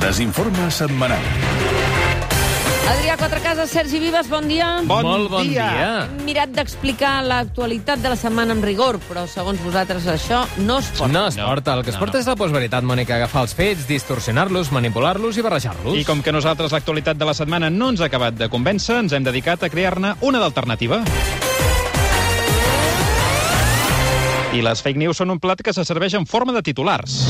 Desinforme setmanal. Adrià Quatrecases, Sergi Vives, bon dia. Bon Molt bon dia. Hem mirat d'explicar l'actualitat de la setmana amb rigor, però segons vosaltres això no es pot. No es porta. El que es No, porta no. és la postveritat, Mònica. Agafar els fets, distorsionar-los, manipular-los i barrejar-los. I com que nosaltres l'actualitat de la setmana no ens ha acabat de convèncer, ens hem dedicat a crear-ne una d'alternativa. I les fake news són un plat que se serveix en forma de titulars.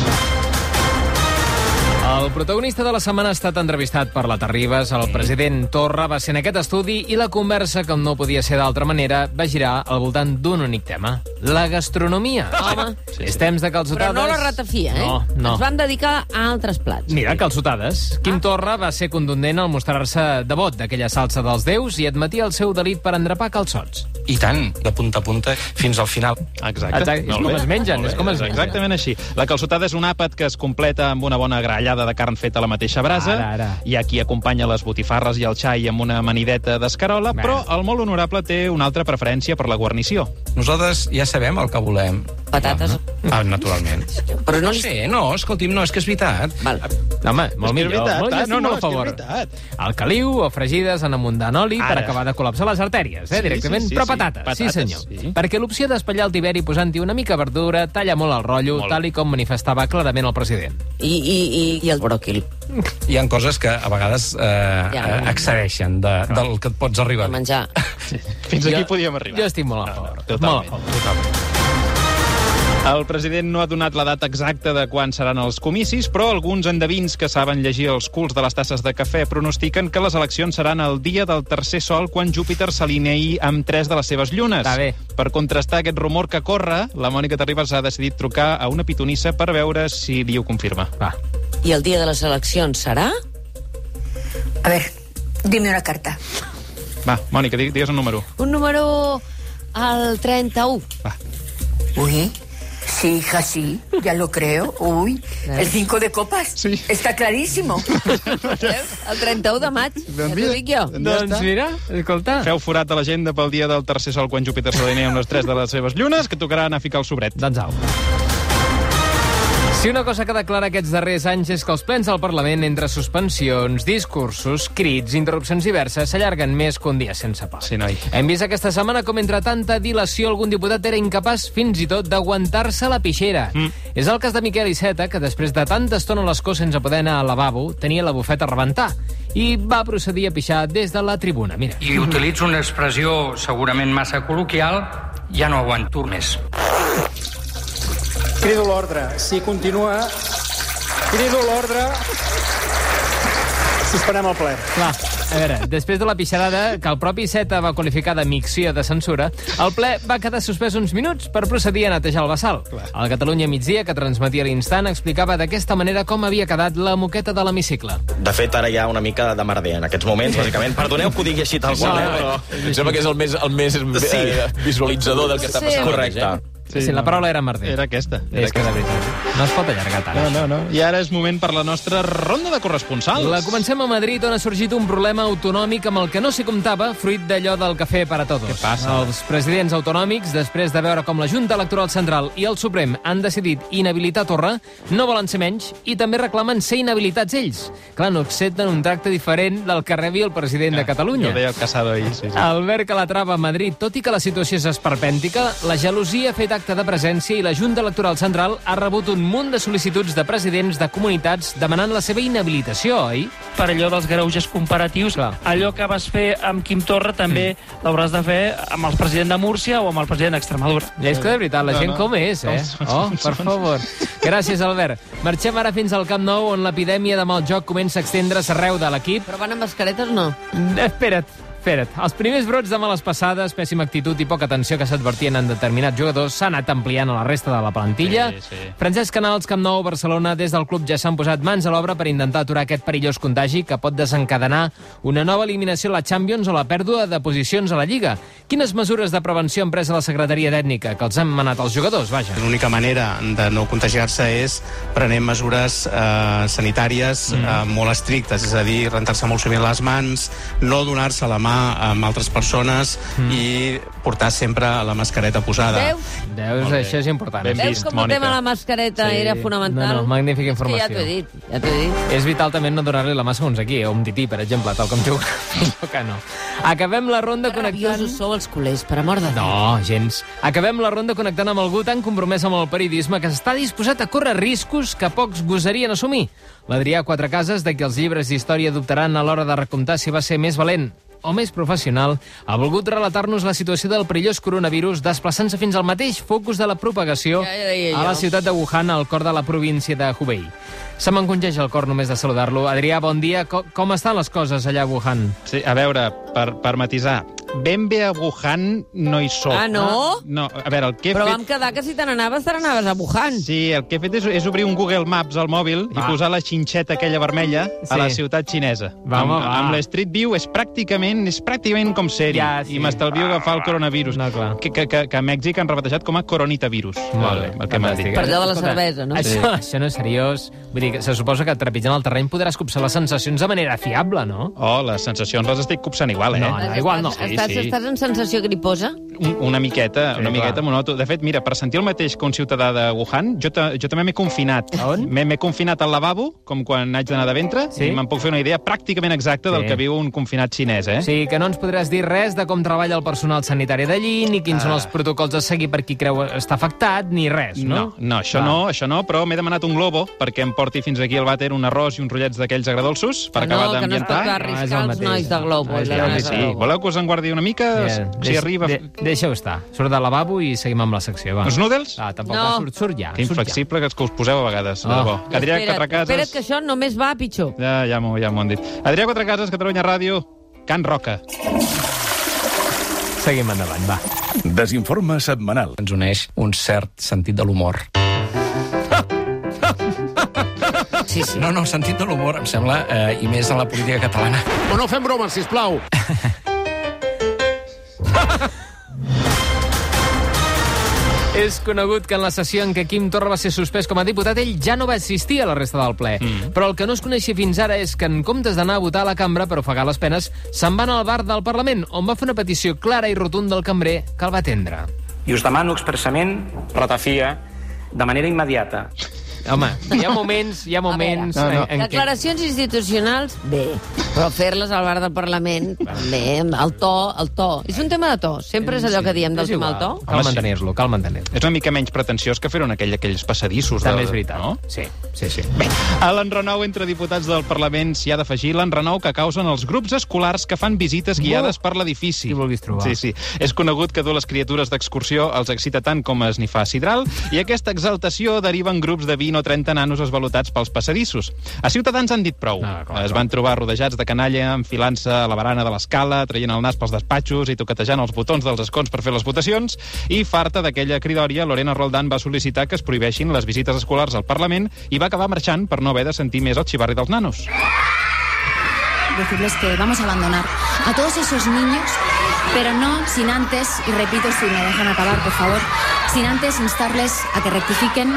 El protagonista de la setmana ha estat entrevistat per la Terribas, el president Torra va ser en aquest estudi i la conversa, com no podia ser d'altra manera, va girar al voltant d'un únic tema. La gastronomia. Home. sí, és temps de Però calçotades... no la ratafia, eh? No, no. Ens vam dedicar a altres plats. Mira, calçotades. Quim Torra va ser contundent al mostrar-se devot d'aquella salsa dels déus i admetia el seu delit per endrapar calçots. I tant, de punta a punta fins al final. Exacte. Exacte, és Molt com bé. es mengen, Molt bé, és com es és mengen. Exactament així. La calçotada és un àpat que es completa amb una bona grallada de carn feta a la mateixa brasa. Ara, ara. Hi ha qui acompanya les botifarres i el xai amb una manideta d'escarola, Bé. però el molt honorable té una altra preferència per la guarnició. Nosaltres ja sabem el que volem. Patates. Ah, naturalment. Però no No li... sé, no, escolti'm, no, és que és veritat. Val. Home, molt que és millor. veritat, molt clar, llàstima, no, no, és a que és favor. veritat. Al caliu o fregides en amunt d'oli per Ara. acabar de col·lapsar les artèries, eh, Sí, directament. sí, sí, Però sí. patates, Patates, sí senyor. sí. Perquè l'opció d'espatllar el tiberi posant-hi una mica verdura talla molt el rotllo, Molt. tal i com manifestava clarament el president. I, i, i, i el bròquil. Hi han coses que a vegades eh, ja. excedeixen Ah. de, del que et pots arribar. De menjar. Fins Jo- aquí podíem arribar. Jo estic molt a favor. Totalment, Molt a favor. totalment. El president no ha donat la data exacta de quan seran els comicis, però alguns endevins que saben llegir els culs de les tasses de cafè pronostiquen que les eleccions seran el dia del tercer sol quan Júpiter s'alineï amb tres de les seves llunes. Està bé. Per contrastar aquest rumor que corre, la Mònica Terribas ha decidit trucar a una pitonissa per veure si li ho confirma. Va. I el dia de les eleccions serà? A ver, dime una carta. Va, Mònica, di- digues un número. Un número al 31. Uy, sí, hija, sí, ya lo creo. Uy, el 5 de copas. Sí. Está clarísimo. El 31 de maig, ja t'ho dic jo. Doncs mira, escolta... Feu forat a l'agenda pel dia del tercer sol quan Júpiter s'alineï amb les tres de les seves llunes, que tocarà anar a ficar el sobret. Doncs au. Si una cosa queda clara aquests darrers anys és que els plens al Parlament, entre suspensions, discursos, crits, interrupcions diverses, s'allarguen més que un dia sense pa. Sí, noi. Hem vist aquesta setmana com entre tanta dilació algun diputat era incapaç fins i tot d'aguantar-se la pixera. Mm. És el cas de Miquel Iceta, que després de tanta estona a l'escó sense poder anar al lavabo, tenia la bufeta a rebentar i va procedir a pixar des de la tribuna. Mira. i utilitzo una expressió segurament massa col·loquial, ja no aguanto més. Crido l'ordre. Si continua... Crido l'ordre. Suspenem el ple. Clar, a veure, després de la pixarada que el propi Iceta va qualificar de micció de censura, el ple va quedar suspès uns minuts per procedir a netejar el vessal. El Catalunya migdia, que transmetia l'instant, explicava d'aquesta manera com havia quedat la moqueta de l'hemicicle. De fet, ara hi ha una mica de merder en aquests moments, bàsicament. Perdoneu que ho digui així tal qual, eh, però... Em sembla que és el més, el més sí. visualitzador del que està passant. Correcte. Sí, sí la paraula era merder. Era aquesta. Era És que de aquesta. veritat, no es pot allargar tant. No, no. I ara és moment per la nostra ronda de corresponsals. La comencem a Madrid, on ha sorgit un problema autonòmic amb el que no s'hi comptava, fruit d'allò del cafè per a tots. Què passa? Els presidents autonòmics, després de veure com la Junta Electoral Central i el Suprem han decidit inhabilitar Torra, no volen ser menys i també reclamen ser inhabilitats ells. Clar, no accepten un tracte diferent del que rebi el president de Catalunya. Jo deia el Casado ahir, sí, sí. Albert Calatrava a Madrid, tot i que la situació és esperpèntica, la gelosia ha fet acte de presència i la Junta Electoral Central ha rebut un munt de sol·licituds de presidents de comunitats demanant la seva inhabilitació, oi? per allò dels greuges comparatius. Clar. Allò que vas fer amb Quim Torra també l'hauràs de fer amb el president de Múrcia o amb el president d'Extremadura. I és que de veritat, la No, gent no. com és, eh? Oh, per favor. Gràcies, Albert. Marxem ara fins al Camp Nou, on l'epidèmia de mal joc comença a extendre's arreu de l'equip. Però van amb mascaretes o no? Mm, Espera't, espera't. Els primers brots de males passades, pèssima actitud i poca atenció que s'advertien en determinats jugadors s'han anat ampliant a la resta de la plantilla. Sí, sí. Francesc Canals, Camp Nou, Barcelona, des del club ja s'han posat mans a l'obra per intentar aturar aquest perillós contagi que pot desencadenar una nova eliminació a la Champions o la pèrdua de posicions a la Lliga. Quines mesures de prevenció han pres a la Secretaria tècnica que els han manat els jugadors, vaja? L'única manera de no contagiar-se és prenent mesures eh, sanitàries mm. eh, molt estrictes, és a dir, rentar-se molt sovint les mans, no donar-se la mà amb altres persones mm. i portar sempre la mascareta posada. Veus? Veus, això és important. Ben Veus com el tema de la mascareta sí. era fonamental? No, no, magnífica És que informació. ja t'ho he dit, ja t'ho he dit. És vital també no donar-li la mà segons aquí, o un tití, per exemple, tal com tu. Jo que no. Acabem la ronda connectant... Rabiosos sou els culers, per amor de Déu. No, gens. Acabem la ronda connectant amb algú tan compromès amb el periodisme que està disposat a córrer riscos que pocs gosarien assumir. L'Adrià Quatre Cases, de qui els llibres d'història dubtaran a l'hora de recomptar si va ser més valent o més professional, ha volgut relatar-nos la situació del perillós coronavirus desplaçant-se fins al mateix focus de la propagació Ja, ja deia a la jo. ciutat de Wuhan, al cor de la província de Hubei. Se m'encongeix el cor només de saludar-lo. Adrià, bon dia. Co com estan les coses allà a Wuhan? Sí, a veure, per, per matisar, ben bé a Wuhan no hi soc. Ah, no? No, a veure, el que he Però fet... vam quedar que si te n'anaves, te n'anaves a Wuhan. Sí, el que he fet és, és obrir un Google Maps al mòbil va. i posar la xinxeta aquella vermella sí. Sí. a la ciutat xinesa. Va, amb, home, va. amb la Street View és pràcticament, és pràcticament com sèrie. Ja, sí. Ah, I m'estalvio agafar el coronavirus. No, clar. Que, que, que, que a Mèxic han rebatejat com a coronitavirus. Molt bé, eh, El que m'han dit. Per allò de la cervesa, no? Això, això no és seriós. Vull dir, que se suposa que trepitjant el terreny podràs copsar les sensacions de manera fiable, no? Oh, les sensacions les estic copsant igual, eh? No, Ah, no, igual no. Estàs, estàs, sí. estàs en sensació griposa? Un, una miqueta, Sí, sí, una miqueta clar. m'ho noto. De fet, mira, per sentir el mateix que un ciutadà de Wuhan, jo, ta, jo també m'he confinat. A on? M'he m'he confinat al lavabo, com quan haig d'anar de ventre, Sí? i me'n puc fer una idea pràcticament exacta sí. Sí. del que viu un confinat xinès, eh? O sigui, que no ens podràs dir res de com treballa el personal sanitari d'allí, ni quins Ah. són els protocols a seguir per qui creu està afectat, ni res, no? No, no, això no, això no, però m'he demanat un globo perquè em porti fins aquí al vàter un arròs i uns rotllets d'aquells agradolços per Que no, acabar que no es pot d'ambientar. No, Ah, és arriscar el els mateix, nois de no. Globo. No, i les és clar Ja, noies home, de sí. Globo. Voleu que us en guardi una mica? Ja, si deix- arriba... Doncs De, Deixa-ho estar. Surt del lavabo i seguim amb la secció, va. Uns noodles? Ah, tampoc. No. No. Va, surt, surt ja. Que surt ja. inflexible que, és que us poseu a vegades, de Ah. debò. Adrià Espera't, Catracases... Espera't, que això només va a pitjor. Ja, ja m'ho ja m'ho han dit. Adrià Quatrecases, Catalunya Ràdio, Can Roca. Seguim endavant, va. eh? Desinforme setmanal. Ens uneix un cert sentit de l'humor. Sí, sí. No, no, el sentit de l'humor, em sembla, eh, i més en la política catalana. No, no fem bromes, sisplau. És conegut que en la sessió en què Quim Torra va ser suspès com a diputat, ell ja no va assistir a la resta del ple. Mm. Però el que no es coneixia fins ara és que, en comptes d'anar a votar a la cambra per ofegar les penes, se'n va anar al bar del Parlament, on va fer una petició clara i rotunda al cambrer que el va atendre. I us demano expressament ratafia de manera immediata. Home, hi ha moments, hi ha moments... A veure, Declaracions institucionals, bé. Però fer-les al bar del Parlament, bé. El to, el to. És un tema de to. Sempre és allò que diem del tema del to. Cal Home, sí. mantenir-lo, cal mantenir-lo. És una mica menys pretensiós que fer en aquell, aquells passadissos. També és veritat. No? Sí, sí, sí. Bé, a l'enrenou entre diputats del Parlament s'hi ha d'afegir l'enrenou que causen els grups escolars que fan visites guiades per l'edifici. Qui vulguis trobar. Sí, sí. És conegut que dur les criatures d'excursió els excita tant com es n'hi fa sidral i aquesta exaltació deriva en grups de 20 o 30 nanos esvalutats pels passadissos. A Ciutadans han dit prou. Ah, clar, es clar. van trobar rodejats de canalla, enfilant-se a la barana de l'escala, traient el nas pels despatxos i toquetejant els botons dels escons per fer les votacions i farta d'aquella cridòria, Lorena Roldán va sol·licitar que es prohibeixin les visites escolars al Parlament i va acabar marxant per no haver de sentir més el xivarri dels nanos. decirles que vamos a abandonar a todos esos niños, pero no sin antes, y repito si me dejan acabar, por favor, sin antes instarles a que rectifiquen.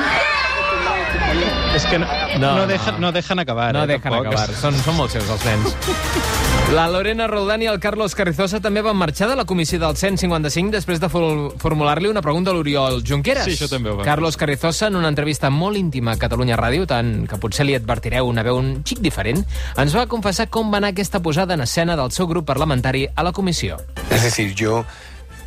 És que no, No, no, no. no, deja, no deixen acabar. No eh, deixen tampoc. acabar. Són, són molt seus, els nens. La Lorena Roldán i el Carlos Carrizosa també van marxar de la comissió del 155 després de fol- formular-li una pregunta a l'Oriol Junqueras. Sí, això també ho va fer. Carlos Carrizosa, en una entrevista molt íntima a Catalunya Ràdio, tant que potser li advertireu una veu un xic diferent, ens va confessar com va anar aquesta posada en escena del seu grup parlamentari a la comissió. Es decir, yo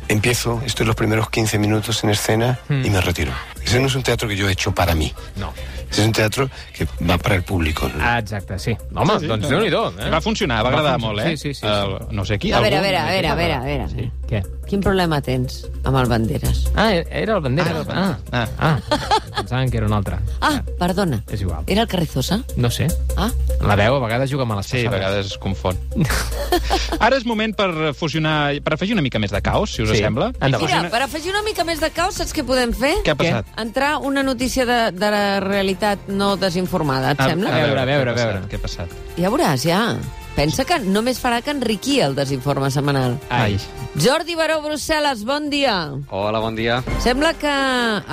empiezo, estoy los primeros 15 minutos en escena y me retiro. Ese no es un teatro que yo he hecho para mí. No. Ese es un teatro que va para el público. ¿no? Ah, exacte, sí. Home, sí, sí, doncs déu-n'hi-do. Eh? Va funcionar, va, agradar funcionar, molt, eh? sí, sí, sí, El, no sé qui, A veure, a algú- veure, a veure, a veure. A veure. Què? Quin problema tens amb el Banderes? Ah, era el Bandera. Ah, ah, ah. Pensaven que era un altre. Ah, perdona. És igual. Era el Carrizosa? No sé. Ah, La veu a vegades juga mal a les Sí, a passades. vegades es confon. Ara és moment per fusionar, per afegir una mica més de caos, si us Sí. sí. sembla. Endavant. mira, per afegir una mica més de caos, saps què podem fer? Què ha passat? Entrar una notícia de, de la realitat no desinformada, Ah, et sembla? a veure, a veure, què ha a veure. passat, Què ha passat? Ja veuràs, ja. Pensa que només farà que enriquir el desinforme setmanal. Ai. Jordi Baró, Brussel·les, bon dia. Hola, bon dia. Sembla que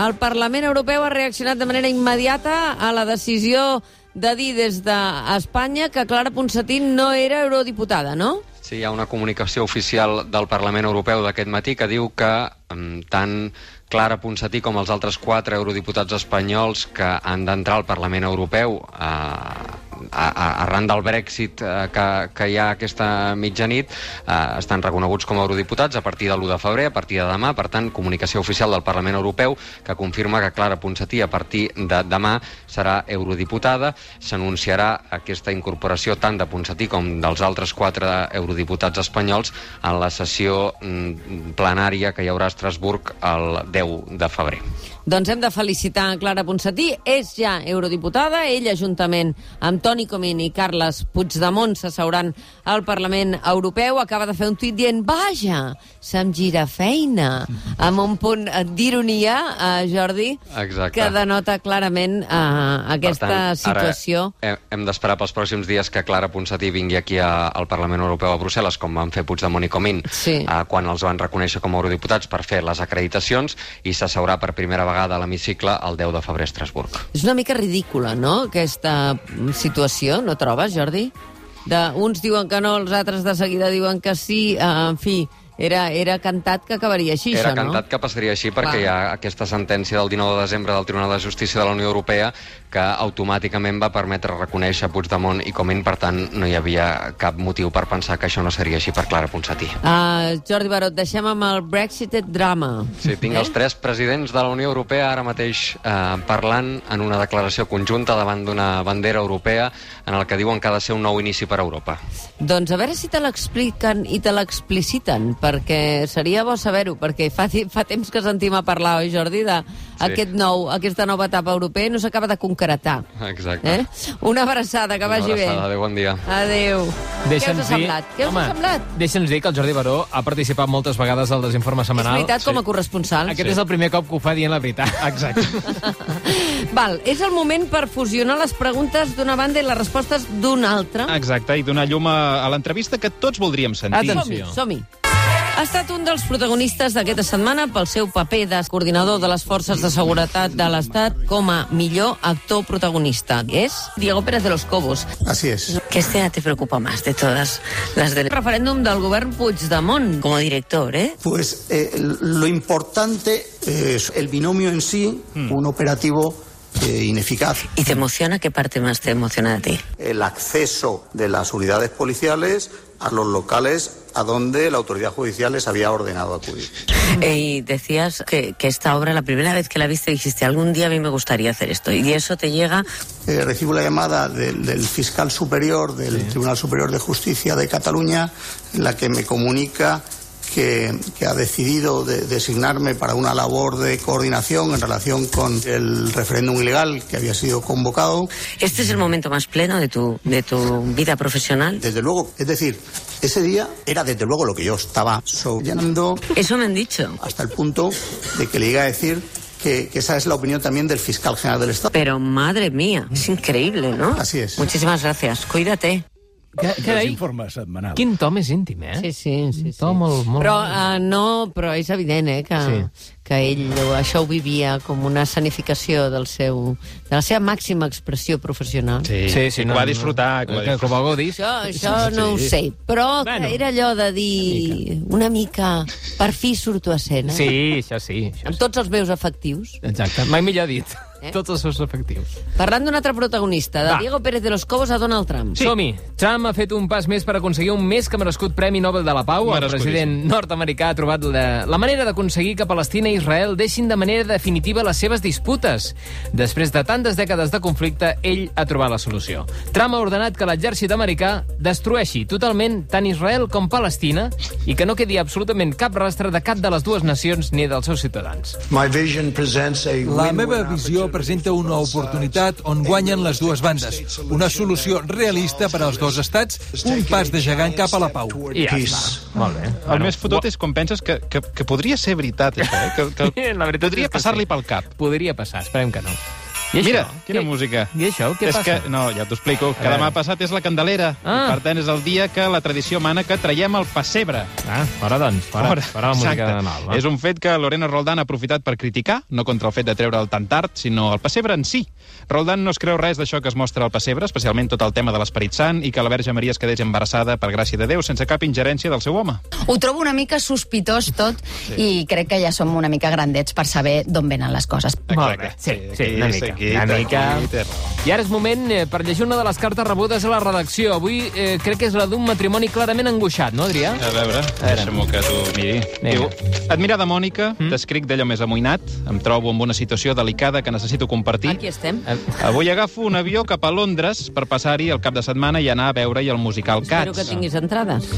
el Parlament Europeu ha reaccionat de manera immediata a la decisió de dir des d'Espanya que Clara Ponsatí no era eurodiputada, no? Sí, Sí, hi ha una comunicació oficial del Parlament Europeu d'aquest matí que diu que mm, tant Clara Ponsatí com els altres quatre eurodiputats espanyols que han d'entrar al Parlament Europeu eh, a, a, arran del Brexit eh, que, que hi ha aquesta mitjanit eh, estan reconeguts com a eurodiputats a partir de l'1 de febrer, a partir de demà. Per tant, comunicació oficial del Parlament Europeu que confirma que Clara Ponsatí a partir de demà serà eurodiputada. S'anunciarà aquesta incorporació tant de Ponsatí com dels altres quatre eurodiputats espanyols en la sessió mm, plenària que hi haurà a Estrasburg el 10 de febrer. Doncs hem de felicitar a Clara Ponsatí. És ja eurodiputada. Ella, juntament amb Toni Comín i Carles Puigdemont, s'asseuran al Parlament Europeu. Acaba de fer un tuit dient «Vaja, se'm gira feina». Amb un punt d'ironia, eh, Jordi, Exacte. que denota clarament eh, aquesta tant, situació. Ara hem, hem d'esperar pels pròxims dies que Clara Ponsatí vingui aquí a, al Parlament Europeu a Brussel·les, com van fer Puigdemont i Comín, Sí. eh, quan els van reconèixer com a eurodiputats per fer les Doncs, acreditacions i s'asseurà per primera vegada a l'hemicicle el 10 de febrer a Estrasburg. És una mica ridícula, no?, aquesta mm, situació, no trobes, Jordi? De, uns diuen que no, els altres de seguida diuen que sí, eh, en fi, era, era cantat que acabaria així, Era això, cantat que passaria així Clar. perquè hi ha aquesta sentència del 19 de desembre del Tribunal de Justícia de la Unió Europea que automàticament va permetre reconèixer Puigdemont i Comín, per tant, no hi havia cap motiu per pensar que això no seria així per Clara Ponsatí. no? Uh, Jordi Barot, deixem amb el Brexit drama. Sí, tinc els tres presidents de la Unió Europea ara mateix eh, parlant en una declaració conjunta davant d'una bandera europea en el que diuen que ha de ser un nou inici per a Europa. Doncs a veure si te l'expliquen i te l'expliciten, perquè seria bo saber-ho, perquè fa, ti- fa temps que sentim a parlar, oi, Jordi, de aquest nou, aquesta nova etapa europea i no s'acaba de concretar. Exacte. Eh? Una abraçada, que vagi bé. abraçada, adéu, bon dia. Adéu. Què us ha Deixa'ns dir... semblat? Què us Home, ha semblat? Deixa'ns dir que el Jordi Baró ha participat moltes vegades al Desinforme Semanal. És veritat, com a corresponsal. Aquest és el primer cop que ho fa dient la veritat. Exacte. Val, és el moment per fusionar les preguntes d'una banda i les respostes d'una altra. Ah, Exacte, i donar llum a, a l'entrevista que tots voldríem sentir. Som-hi, som-hi. Ha estat un dels protagonistes d'aquesta setmana pel seu paper de coordinador de les forces de seguretat de l'Estat com a millor actor protagonista. És Diego Pérez de los Cobos. Así es. ¿Qué escena te preocupa más de todas las del referéndum del govern Puigdemont? Como director, ¿eh? Pues eh, lo importante es el binomio en sí, un operativo eh, ineficaz. ¿Y te emociona? ¿Qué parte más te emociona a ti? El acceso de las unidades policiales a los locales a donde la autoridad judicial les había ordenado acudir. Eh, Y decías que, que esta obra, la primera vez que la viste, dijiste, algún día a mí me gustaría hacer esto. Y eso te llega Eh, recibo la llamada del, del fiscal superior del Tribunal Superior de Justicia de Cataluña, en la que me comunica que, que ha decidido de- designarme para una labor de coordinación en relación con el referéndum ilegal que había sido convocado. ¿Este es el momento más pleno de tu, de tu vida profesional? Desde luego, es decir, ese día era desde luego lo que yo estaba soñando. Eso me han dicho. Hasta el punto de que le llegué a decir que, que esa es la opinión también del fiscal general del Estado. Pero madre mía, es increíble, ¿no? Así es. Muchísimas gracias. Cuídate. Desinforme setmanal. Quin tom és íntim, eh? Sí, sí, sí. sí. To molt, molt... Però, uh, no, però és evident eh, que, sí. Sí. que ell ho- això ho vivia com una escenificació del seu, de la seva màxima expressió professional. Sí, sí, I que no, ho va no. disfrutar, que ho va Que- que ho va gaudir. Això, això no ho sé, però bueno, era allò de dir una mica, per fi surto a escena. Sí, això sí. Això. Amb tots els meus efectius. Exacte, mai millor dit. Eh? Eh? Tots els seus efectius. Parlant d'un altre protagonista, de Va. Diego Pérez de los Cobos a Donald Trump. Sí. Som-hi. Trump ha fet un pas més per aconseguir un més que merescut Premi Nobel de la Pau. El Merescudíssim. president nord-americà ha trobat la, la manera d'aconseguir que Palestina i Israel deixin de manera definitiva les seves disputes. Després de tantes dècades de conflicte, ell ha trobat la solució. Trump ha ordenat que l'exèrcit americà destrueixi totalment tant Israel com Palestina i que no quedi absolutament cap rastre de cap de les dues nacions ni dels seus ciutadans. My vision presents a La win-win meva visió presenta una oportunitat on guanyen les dues bandes. Una solució realista per als dos estats, un pas de gegant cap a la pau. I ja està. Molt bé. El més fotut és quan penses que, que, que podria ser veritat, això, eh? que, que La veritat podria és que passar-li sí. pel cap. Podria passar, esperem que no. I això? Mira, quina Què- música. I això, què és passa? Que, no, ja t'ho explico. Que veure. demà passat és la Candelera. Ah. I per tant, és el dia que la tradició mana que traiem el pessebre. Ah, fora, doncs, fora, fora, la música Exacte. de Nadal. eh? va. És un fet que Lorena Roldán ha aprofitat per criticar, no contra el fet de treure el tan tard, sinó el pessebre en si. Roldán no es creu res d'això que es mostra al pessebre, especialment tot el tema de l'Esperit Sant i que la Verge Maria es quedés embarassada per gràcia de Déu sense cap ingerència del seu home. Ho trobo una mica sospitós tot sí. i crec que ja som una mica grandets per saber d'on venen les coses. Molt Eh, bé, sí, sí, una mica. una mica. I ara és moment eh, per llegir una de les cartes rebudes a la redacció. Avui eh, crec que és la d'un matrimoni clarament angoixat, no, Adrià? A veure, deixa'm que t'ho miri. Diu, admirada Mònica, mm? t'escric d'allò més amoïnat, em trobo amb una situació delicada que necessito compartir. Aquí estem. Avui agafo un avió cap a Londres per passar-hi el cap de setmana i anar a veure-hi el musical Espero que Cats. tinguis entrades.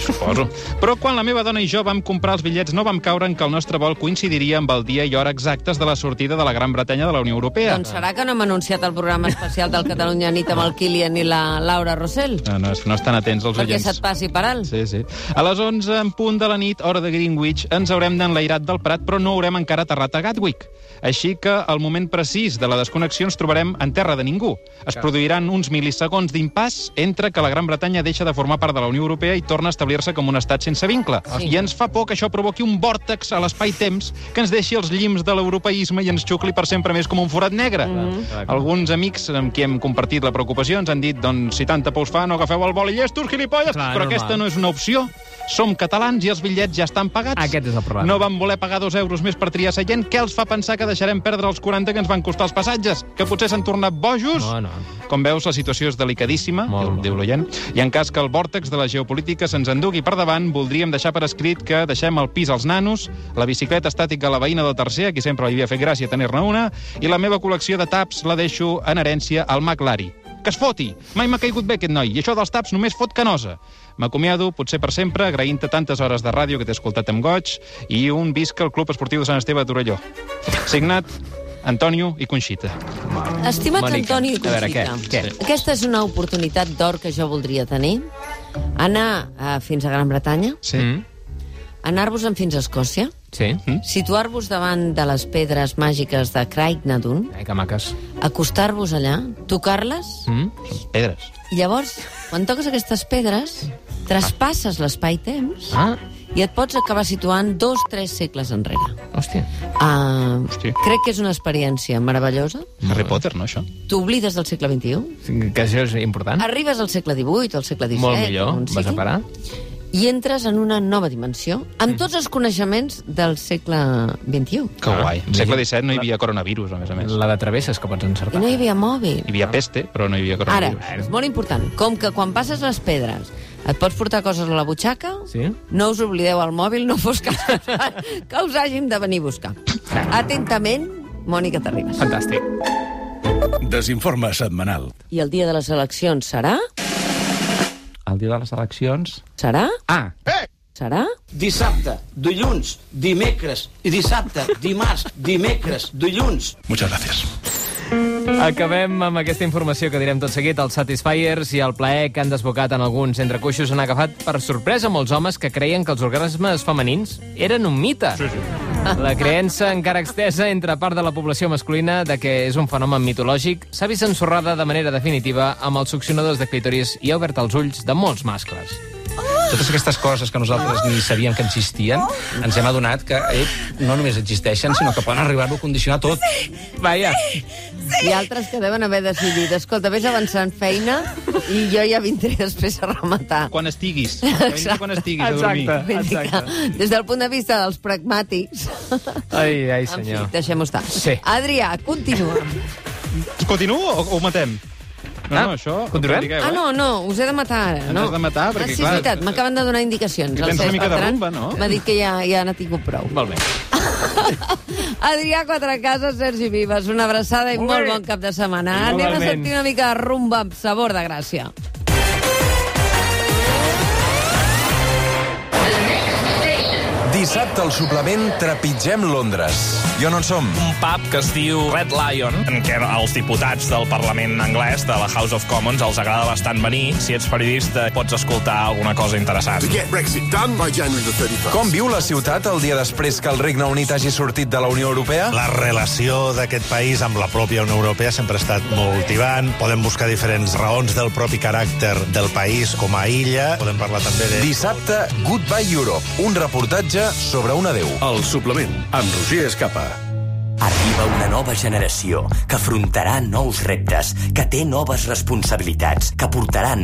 Suposo. Però quan la meva dona i jo vam comprar els bitllets no vam caure en que el nostre vol coincidiria amb el dia i hora exactes de la sortida de la Gran Bretanya de la Unió Europea. Doncs serà que no hem anunciat el programa especial del Catalunya Nit amb el Kilian i la Laura Rossell? No, no, no estan atents els Perquè oients. se't passi per alt. Sí, sí. A les 11 en punt de la nit, hora de Greenwich, ens haurem d'enlairat del Prat, però no haurem encara aterrat a Gatwick. Així que al moment precís de la desconnexió ens trobarem en terra de ningú. Es produiran uns mil·lisegons d'impàs entre que la Gran Bretanya deixa de formar part de la Unió Europea i torna a establir-se com un estat sense vincle. Sí. I ens fa por que això provoqui un vòrtex a l'espai-temps que ens deixi els llims de l'europeisme i ens xucli per sempre més com un forat negre. Mm-hmm. Mhm. Alguns amics amb qui hem compartit la preocupació ens han dit, doncs, si tanta por us fa, no agafeu el vol i llestos, gilipolles, Clar, però normal. aquesta no és una opció. Som catalans i els bitllets ja estan pagats. Aquest és el problema. No van voler pagar dos euros més per triar seient. Què els fa pensar que deixarem perdre els 40 que ens van costar els passatges? Que potser s'han tornat bojos? No, no. Com veus, la situació és delicadíssima, diu, diu l'oient, i en cas que el vòrtex de la geopolítica se'ns endugui per davant, voldríem deixar per escrit que deixem el pis als nanos, la bicicleta estàtica a la veïna del tercer, a qui sempre li havia fet gràcia tenir-ne una, i la meva col·lecció de taps la deixo en herència al Mac Lari. Que es foti! Mai m'ha caigut bé aquest noi, i això dels taps només fot canosa. M'acomiado, potser per sempre, agraint-te tantes hores de ràdio que t'he escoltat amb goig, i un visca al Club Esportiu de Sant Esteve de Torelló. Signat, Antonio i Conxita. Estimat Mònica, Antoni i a veure, Conxita, què? Què? aquesta és una oportunitat d'or que jo voldria tenir. Anar eh, fins a Gran Bretanya, Sí. Mm. anar-vos-en fins a Escòcia, Sí. Mm. situar-vos davant de les pedres màgiques de Craig Nadun, Eh, que maques. acostar-vos allà, tocar-les, Mm? Pedres. i llavors, quan toques aquestes pedres, traspasses l'espai-temps Ah. i et pots acabar situant dos, tres segles enrere. Hòstia. Uh, Hòstia. crec que és una experiència meravellosa. Harry Potter, no, això? T'oblides del segle XXI, Que això és important. Arribes al segle XVIII, al segle XVII... Molt millor. on sigui, Vas a parar. Mm. I entres en una nova dimensió, amb tots els coneixements del segle XXI. Que guai. Al segle XVII no hi havia coronavirus, a més a més. La de travesses que pots I encertar. no hi havia mòbil. Hi havia peste, però no hi havia Ara, coronavirus. és molt important, com que quan passes les pedres et pots portar coses a la butxaca, Sí? no us oblideu el mòbil, no fos cas que us hàgim de venir a buscar. Atentament, Mònica Terribas. Fantàstic. Desinforme setmanal. I el dia de les eleccions serà? El dia de les eleccions... Serà? Ah! Eh! Serà? Dissabte, dilluns, dimecres i dissabte, dimarts, dimecres, dilluns. Muchas gracias. Acabem amb aquesta informació que direm tot seguit. Els Satisfiers i el plaer que han desbocat en alguns entrecoixos han agafat per sorpresa molts homes que creien que els organismes femenins eren un mite. Sí, sí. La creença encara extesa entre part de la població masculina de que és un fenomen mitològic s'ha vist ensorrada de manera definitiva amb els succionadors de clitoris i ha obert els ulls de molts mascles. Totes aquestes coses que nosaltres ni sabíem que existien, ens hem adonat que eh, no només existeixen, sinó que poden arribar-ho a condicionar tot. Vaja. Sí. I altres que deuen haver decidit, escolta, vés avançant feina i jo ja vindré després a rematar. Quan estiguis. Exacte. Quan estiguis a dormir. Vull dir que, des del punt de vista dels pragmàtics, Ai, ai, en fi, senyor. deixem-ho estar. Sí. Adrià, continua. Continuo o, o ho matem? No, Ah, no, això... eh? continuem? Digueu, Ah, no, no, us he de matar ara. Ens No. has de matar, ah, perquè, sí, clar, és veritat, m'acaben de donar indicacions. que El tens una Cesc mica de Bertran rumba, no? M'ha dit que ja, ja n'ha tingut prou. Molt bé. Adrià Quatrecases, Sergi Vives, una abraçada i Molt molt bé. bon cap de setmana. Anem Igualment. a sentir una mica de rumba amb sabor de gràcia. Dissabte al suplement Trepitgem Londres. Jo no en som. Un pub que es diu Red Lion, en què els diputats del Parlament anglès, de la House of Commons, els agrada bastant venir. Si ets periodista, pots escoltar alguna cosa interessant. To get Brexit done by January the 31st. Com viu la ciutat el dia després que el Regne Unit hagi sortit de la Unió Europea? La relació d'aquest país amb la pròpia Unió Europea sempre ha estat molt tibant. Podem buscar diferents raons del propi caràcter del país com a illa. Podem parlar també de... Dissabte, Goodbye Europe, un reportatge sobre un adeu. El suplement, amb Roger Escapa. Arriba una nova generació que afrontarà nous reptes, que té noves responsabilitats, que portaran